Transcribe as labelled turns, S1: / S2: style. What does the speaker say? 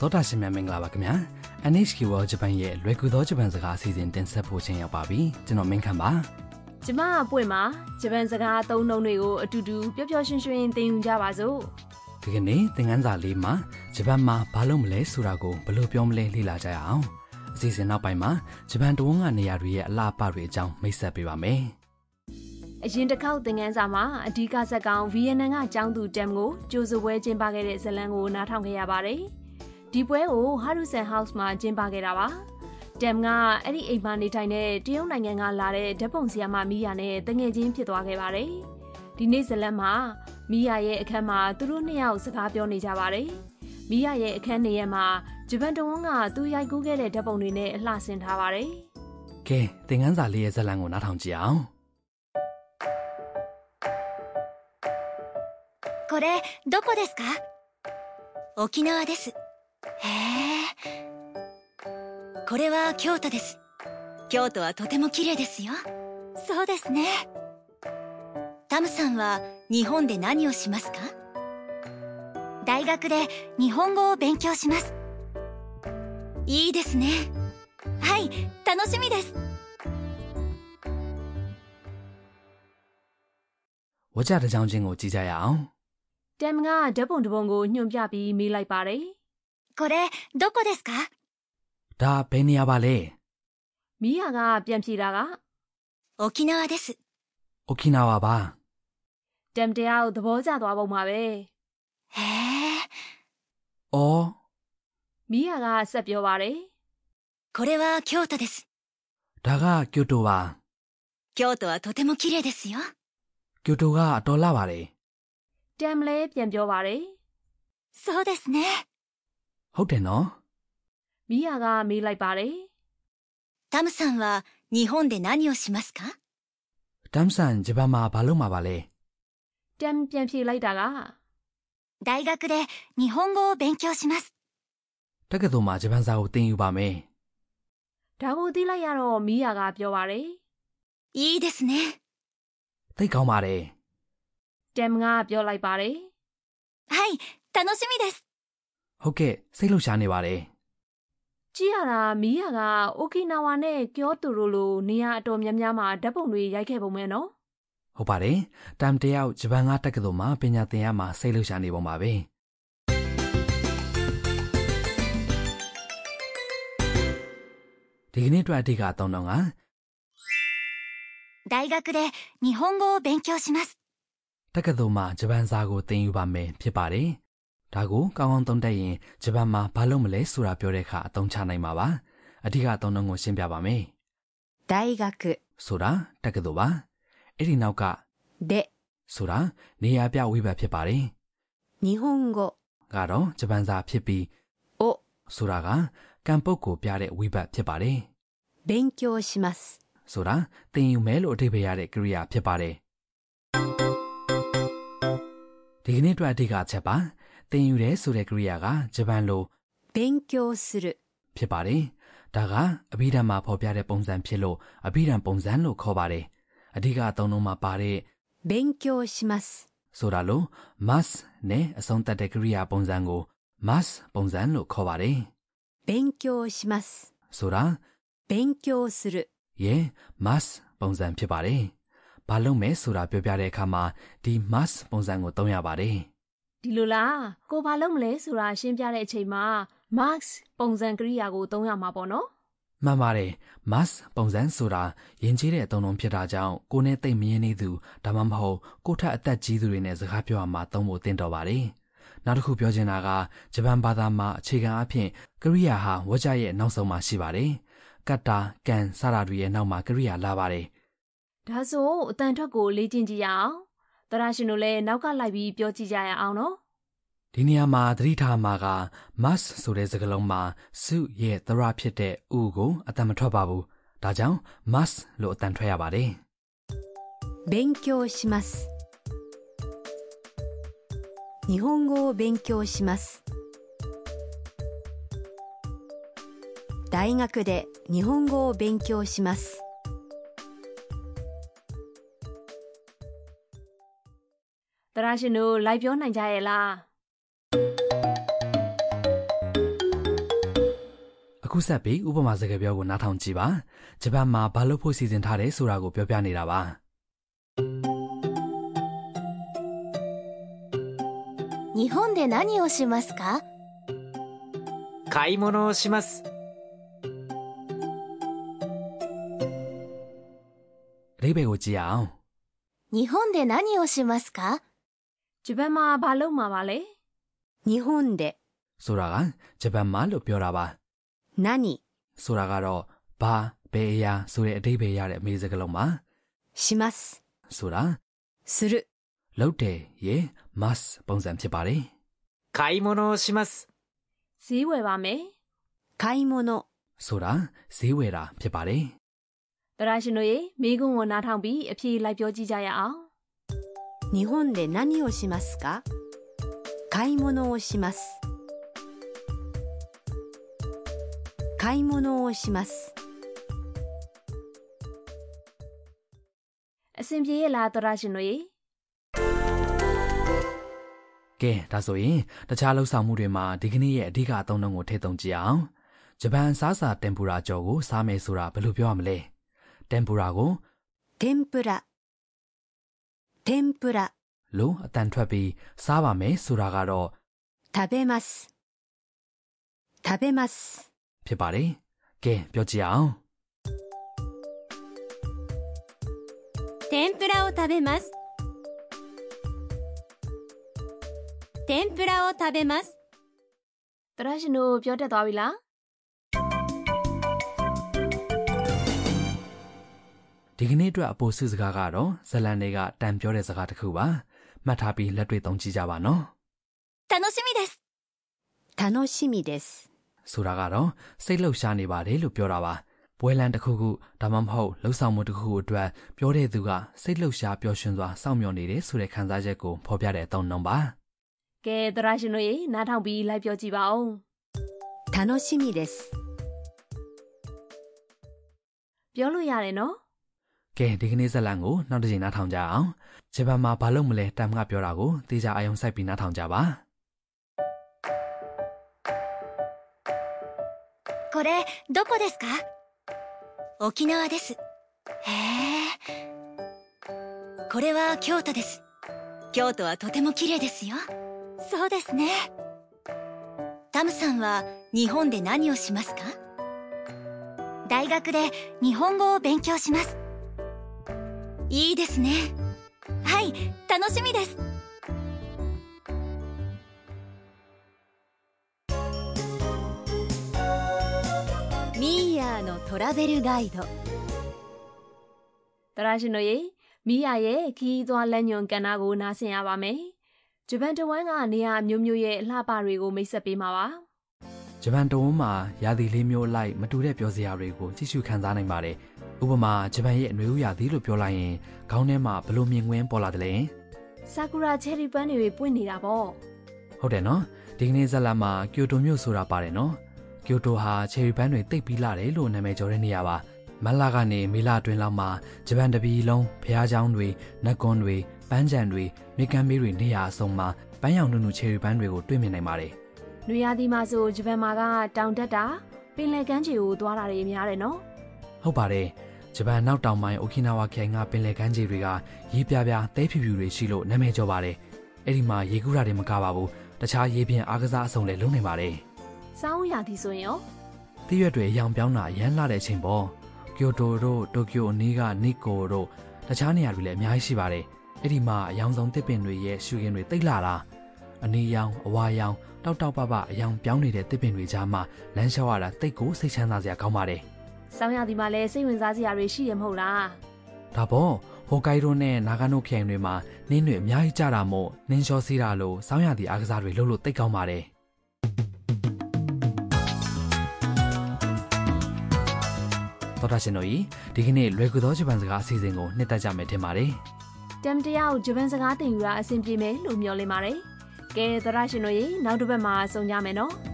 S1: သောတာရှင်များမင်္ဂလာပါခင်ဗျာ NHK World Japan ရဲ့လွယ်ကူသောဂျပန်စကားအစီအစဉ်တင်ဆက်ဖို့ချိန်ရောက်ပါပြီကျွန်တော်မင်းခမ်းပါ
S2: ကျမအပွင့်မှာဂျပန်စကားအသုံးအနှုန်းတွေကိုအတူတူပျော်ပျော်ရွှင်ရွှင်သင်ယူကြပါစို့
S1: ဒီကနေ့သင်ခန်းစာလေးမှာဂျပန်မှာဘာလုပ်မလဲဆိုတာကိုဘယ်လိုပြောမလဲလေ့လာကြရအောင်အစီအစဉ်နောက်ပိုင်းမှာဂျပန်တဝန်းကနေရာတွေရဲ့အလားအပတွေအကြောင်းမိတ်ဆက်ပေးပါမယ်
S2: အရင်တစ်ခေါက်သင်ခန်းစာမှာအဓိကဇာတ်ကောင်ဗီယက်နမ်ကကျောင်းသူတမ်ကိုကြိုးစပွဲကျင်းပခဲ့တဲ့ဇတ်လံကိုနားထောင်ခဲ့ရပါတယ်ဒီပွဲကိုဟာရူဆန်ဟောက်စ်မှာကျင်းပခဲ့တာပါတမ်ကအဲ့ဒီအိမ်မှာနေထိုင်တဲ့တရုတ်နိုင်ငံကလာတဲ့ဓာတ်ပုံဆရာမမီးယာနဲ့တငယ်ချင်းဖြစ်သွားခဲ့ပါတယ်ဒီနေ့ဇတ်လံမှာမီးယာရဲ့အခန်းမှာသူတို့နှစ်ယောက်စကားပြောနေကြပါတယ်မီးယာရဲ့အခန်းနေရာမှာဂျပန်တဝန်းကသူရိုက်ကူးခဲ့တဲ့ဓာတ်ပုံတွေနဲ့အလှဆင်ထားပါတယ်
S1: ကဲသင်ခန်းစာလေးရဲ့ဇာတ်လမ်းကိုနားထောင်ကြည့်အောင်
S3: これどこですか沖縄ですへえこれは京都です京都はとても綺麗ですよそうですねタムさんは日本で何をしますか大学で日本語を勉強しますいいですねはい楽しみです
S1: ဝါကြတစ်ကြောင်းချင်းကိုကြည့်ကြရအောင်
S2: တမ်ကဓာတ်ပုံတစ်ပုံကိုညွှန်ပြပြီးမေးလိုက်ပါတယ်
S3: これどこですか
S1: ဒါဘယ်နေရာပါလဲ
S2: ။မီးယာကပြန်ဖြေတာက
S3: 沖縄です
S1: အိုကီနာဝါပါ
S2: တမ်တရားကိုသဘောကျသွားပုံပါပဲ
S3: へえ
S1: အော်
S2: ။မီးယာကဆက်ပြောပါတယ်
S3: これは京都です
S1: ဒါကကျိုတိုပါ
S3: 京都はとても綺麗ですよ
S1: ကျိုတိုကအတော်လှပါတယ်
S2: ။တမ်လည်းပြန်ပြောပါတယ်
S3: そうですね
S1: ဟုတ်တယ်နော်
S2: ။မီးယာကမေးလိုက်ပါတယ်
S3: タムさんは日本で何をしますか
S1: တမ်ဆန်ဂျပန်မှာဘာလုပ်မှာပါလဲ
S2: ။တမ်ပြန်ဖြေလိုက်တာက
S3: 大学で日本語を勉強します
S1: တက္ကသိုလ်မှာဂျပန်စာကိုသင်ယူပါမယ်
S2: ဒါကိုသိလိုက်ရတော့မီးယာကပြောပါတယ်
S3: いいですね
S1: သိကောင်းပါတယ်
S2: ။တမ်ကပြောလိုက်ပါတယ်
S3: はい楽しみです
S1: ဟုတ်ကဲ့စိတ်လှုပ်ရှားနေပါတယ်
S2: ။ကြည့်ရတာမီးယာကအိုကီနာဝါနဲ့ကျောတိုရိုလိုနေရာအတော်များများမှာဓာတ်ပုံတွေရိုက်ခဲ့ပုံပဲနော်
S1: ဟုတ်ပါတယ်တမ်တယောက်ဂျပန်ကတက္ကသိုလ်မှာပညာသင်ရမှာစိတ်လှုပ်ရှားနေပုံပါပဲဒီကနေ့အတွက်အဓိကအသုံးတော့က
S3: 大学で日本語を勉強します
S1: တက္ကသိုလ်မှာဂျပန်စာကိုသင်ယူပါမယ်ဖြစ်ပါတယ်ဒါကိုကောင်းကောင်းသုံးသပ်ရင်ဂျပန်မှာဘာလုပ်မလဲဆိုတာပြောတဲ့အခါအသုံးချနိုင်မှာပါအဓိကအသုံးတော့ကိုရှင်းပြပါမယ်
S3: 大学
S1: ဆိုတာတက္ကသိုလ်ပါအဲ့ဒီနောက်က
S3: で
S1: ဆိုတာနေရာပြဝိဘတ်ဖြစ်ပါတယ်
S3: 日本語
S1: ကတော့ဂျပန်စာဖြစ်ပြီး
S3: を
S1: ဆိုတာကကံပုတ်ကိုပြတဲ့ဝိဘတ်ဖြစ်ပါတယ်
S3: 勉強します
S1: ဆိုတာသင်ယူမယ်လို့အဓိပ္ပာယ်ရတဲ့ကိရိယာဖြစ်ပါတယ်ဒီကနေ့အတွက်အဓိကအချက်ပါသင်ယူတယ်ဆိုတဲ့ကိရိယာကဂျပန်လို
S3: 勉強する
S1: ဖြစ်ပါတယ်ဒါကအဘိဓမ္မာဖော်ပြတဲ့ပုံစံဖြစ်လို့အဘိဓမ္မပုံစံလို့ခေါ်ပါတယ်အဓိကအသုံးလုံးမှာပါတဲ့
S3: 勉強します
S1: ဆိုတာလို့ mas နဲ့အဆုံးသတ်တဲ့ကရိယာပုံစံကို mas ပုံစံလို့ခေါ်ပါတယ်
S3: 勉強します
S1: ဆိုတာ
S3: 勉強する
S1: ရေ mas ပုံစံဖြစ်ပါတယ်ဘာလုပ်မယ်ဆိုတာပြောပြတဲ့အခါမှာဒီ mas ပုံစံကိုသုံးရပါတယ်
S2: ။ဒီလိုလားကိုဘာလုပ်မလဲဆိုတာရှင်းပြတဲ့အချိန်မှာ Max ပုံစံကရိယာကိုသုံးရမှာပေါ့နော်။
S1: မှန်ပါတယ် mas ပုံစံဆိုတာယဉ်ကျေးတဲ့အသုံးအနှုန်းဖြစ်တာကြောင့်ကိုယ်နဲ့သိပ်မရင်းနေသူဒါမှမဟုတ်ကိုယ့်ထက်အသက်ကြီးသူတွေနဲ့စကားပြောရမှာသုံးဖို့သင်တော်ပါတယ်နောက်တစ်ခုပြောချင်တာကဂျပန်ဘာသာမှာအခြေခံအဖြစ်ကရိယာဟာဝါကျရဲ့နောက်ဆုံးမှာရှိပါတယ်ကတ္တာကံစတာတွေရဲ့နောက်မှာကရိယာလာပါတယ်
S2: ဒါဆိုအတန်ထွက်ကိုလေ့ကျင့်ကြည့်ရအောင်။သရရှင်တို့လည်းနောက်ကလိုက်ပြီးပြောကြည့်ကြရအောင်နော်
S1: ဒီနေရာမှာသတိထားမှာက must ဆိုတဲ့စကားလုံးမှာ su ရဲ့ thra ဖြစ်တဲ့ u ကိုအတန်မထွက်ပါဘူး။ဒါကြောင့် must လို့အတန်ထွက်ရပါတယ်
S3: 勉強します日本語を勉強します大学で日本語を勉強します
S2: ။သရရှင်တို့လိုက်ပြောနိုင်ကြရဲ့လား
S1: ခုဆက်ပြီးဥပမာစကားပြောကိုနားထောင်ကြည့်ပါဂျပန်မှာဘာလို့ဖို့စီစဉ်ထားတယ်ဆိုတာကိုပြောပြနေတာပါ
S3: 日本で何をしますか
S4: 買い物をします
S1: အလေးပဲကိုကြည့်အောင်
S3: 日本で何をしますか
S2: ဂျပန်မှာဘာလုပ်မှာပါလဲ
S3: 日本で
S1: ဆိုတာကဂျပန်မှာလို့ပြောတာပါ
S3: 何
S1: ဆိုတာကတော့ဘာဘယ်အရာဆိုတဲ့အဓိပ္ပာယ်ရတဲ့အမေစကားလုံးပါ
S3: します
S1: ဆိုတာ
S3: する
S1: လုပ်တယ်ရေ must ပုံစံဖြစ်ပါတယ်
S4: 買い物をします
S2: ဈေးဝယ်ပါမယ်
S3: 買い物
S1: ဆိုတာဈေးဝယ်တာဖြစ်ပါတယ်
S2: တရာရှင်တို့ရေမိကုံကိုနားထောင်ပြီးအဖြေလိုက်ပြောကြည့်ကြရအောင်
S3: 日本で何をしますか買い物をします買い物をします
S2: အဆင်ပြေရဲ့လားသောရရှင်တို့ရေ
S1: ကဲဒါဆိုရင်တခြားလှုပ်ဆောင်မှုတွေမှာဒီကနေ့ရဲ့အဓိကအသုံးအနှုန်းကိုထည့်သွင်းကြည့်အောင်ဂျပန်စားစာတెంပူရာကြော်ကိုစားမယ်ဆိုတာဘယ်လိုပြောရမလဲတెంပူရာကို
S3: 天ぷら天ぷら
S1: လို့အတန်ထွက်ပြီးစားပါမယ်ဆိုတာကတော့
S3: 食べます食べます
S1: ဖြစ်ပါတယ်။ကဲပြောကြည့်အောင်
S3: 天ぷらを食べます天ぷらを食べます
S2: သောရရှင်တို့ပြောတတ်သွားပြီလား
S1: ဒီကနေ့အတွက်အပိုစုစကားကတော့ဇလန်တွေကတန်ပြောတဲ့စကားတစ်ခုပါ။မှတ်ထားပြီးလက်တွေ့သုံးကြည့်ကြပါနော်
S3: 楽しみです楽しみです
S1: ။ဆိုတာကတော့စိတ်လှုပ်ရှားနေပါတယ်လို့ပြောတာပါ။ပွဲလန်းတစ်ခုခုဒါမှမဟုတ်လှုပ်ဆောင်မှုတစ်ခုခုအတွက်ပြောတဲ့သူကစိတ်လှုပ်ရှားပျော်ရွှင်စွာစောင့်မျှော်နေတယ်ဆိုတဲ့ခံစားချက်ကိုဖော်ပြတဲ့အသုံးအနှုန်းပါ
S2: ကဲသောရရှင်တို့ရေနားထောင်ပြီးလိုက်ပြောကြည့်ပါဦး
S3: 楽しみです
S2: ပြောလို့ရတယ်နော်
S1: ။ကဲဒီကနေ့ဇလန်ကိုနောက်တစ်ချိန်နားထောင်ကြအောင်။ဂျပန်မှာဘာလို့မလဲတမ်ကပြောတာကိုတေချာအယုံစိုက်ပြီးနားထောင်ကြပါ။
S3: これどこですか沖縄ですへえこれは京都です京都はとても綺麗ですよそうですねタムさんは日本で何をしますか大学で日本語を勉強しますいいですねはい楽しみですミーヤーのトラベルガイド
S2: သောရရှင်တို့ရေမိယာရဲ့ခီးသွွားလက်ညွန်ကဏ္ဍကိုနားဆင်ရပါမယ်ဂျပန်တဝမ်းကနေရာအမျိုးမျိုးရဲ့အလှပတွေကိုမိတ်ဆက်ပေးမှာပါ
S1: ဂျပန်တဝန်းမှာရာသီလေးမျိုးအလိုက်မတူတဲ့ပျော်စရာတွေကိုကြည့်ရှုခန်းစားနိုင်ပါတယ်။ဥပမာဂျပန်ရဲ့အနွေဦးရာသီလို့ပြောလိုက်ရင်ခေါင်းထဲမှာဘယ်လိုမြင်ကွင်းပေါ်လာတယ်လဲ
S2: ဆာကူရာချယ်ရီပန်းတွေပွင့်နေတာပေါ့
S1: ။ဟုတ်တယ်နော်။ဒီကနေ့ဇက်လာမှာကီယိုတိုမြို့ဆိုတာပါတယ်နော်။ကီယိုတိုဟာချယ်ရီပန်းတွေတိတ်ပြီးလာတယ်လို့နာမည်ကျော်တဲ့နေရာပါ။မတ်လကနေမေလအတွင်းလောက်မှာဂျပန်တပီလုံးဖျားချောင်းတွေ၊နက်ကွန်တွေ၊ပန်းချံတွေ၊မြေကမ်းဘေးတွေနေရာအစုံမှာပန်းရောင်နုနုချယ်ရီပန်းတွေကိုတွေ့မြင်နိုင်ပါတယ်။
S2: နွေရာသီမှာဆိုဂျပန်မှာကတောင်တက်တာပင်လယ်ကမ်းခြေကိုသွားတာတွေများတယ်နော်
S1: ဟုတ်ပါတယ်ဂျပန်နောက်တောင်ပိုင်းအိုကီနာဝါခရိုင်ကပင်လယ်ကမ်းခြေတွေကရေပြပြတဲဖြူဖြူတွေရှိလို့နာမည်ကျော်ပါတယ်အဲ့ဒီမှာရေကူးတာတွေမကပါဘူးတခြားရေပြင်အားကစားအစုံလည်းလုပ်နေပါတယ်
S2: စောင်းရာသီဆိုရင်ရော
S1: တိရွတ်တွေအရောင်ပြောင်းတာရမ်းလာတဲ့အချိန်ပေါ့ကီယိုတိုတို့တိုကျိုအနီးကနီကိုတို့တခြားနေရာတွေလည်းအများကြီးရှိပါတယ်အဲ့ဒီမှာအရောင်ဆုံးတစ်ပင်တွေရဲ့ရှုခင်းတွေတိတ်လာတာအနီရောင်အဝါရောင်တောက်တောက်ပပအရောင်ပြောင်းနေတဲ့တစ်ပင်တွေကြားမှာလမ်းလျှောက်ရတာတိတ်ကိုစိတ်ချမ်းသာစရာကောင်းပါတယ်
S2: စောင်းရာသီမှာလည်းစိတ်ဝင်စားစရာတွေရှိရမဟုတ်လား
S1: ဒါပေါ့ဟိုကိုင်ရိုနဲ့နာဂနိုခရိုင်တွေမှာနင်းတွေအများကြီးကြတာမို့နင်းလျှောစီးတာလို့စောင်းရသည့်အားကစားတွေလှုပ်လို့တိတ်ကောင်းပါတယ်တော်တာရှင်တို့ဤဒီကနေ့လွယ်ကူသောဂျပန်စကားအစီအစဉ်ကိုနှစ်သက်ကြမယ်ထင်ပါတယ်
S2: တမ်တယောက်ဂျပန်စကားသင်ယူတာအဆင်ပြေမယ်လို့မျှော်လင့်ပါတယ်။ကဲသရရှင်တို့ရေနောက်တစ်ပတ်မှာဆုံကြမယ်နော်။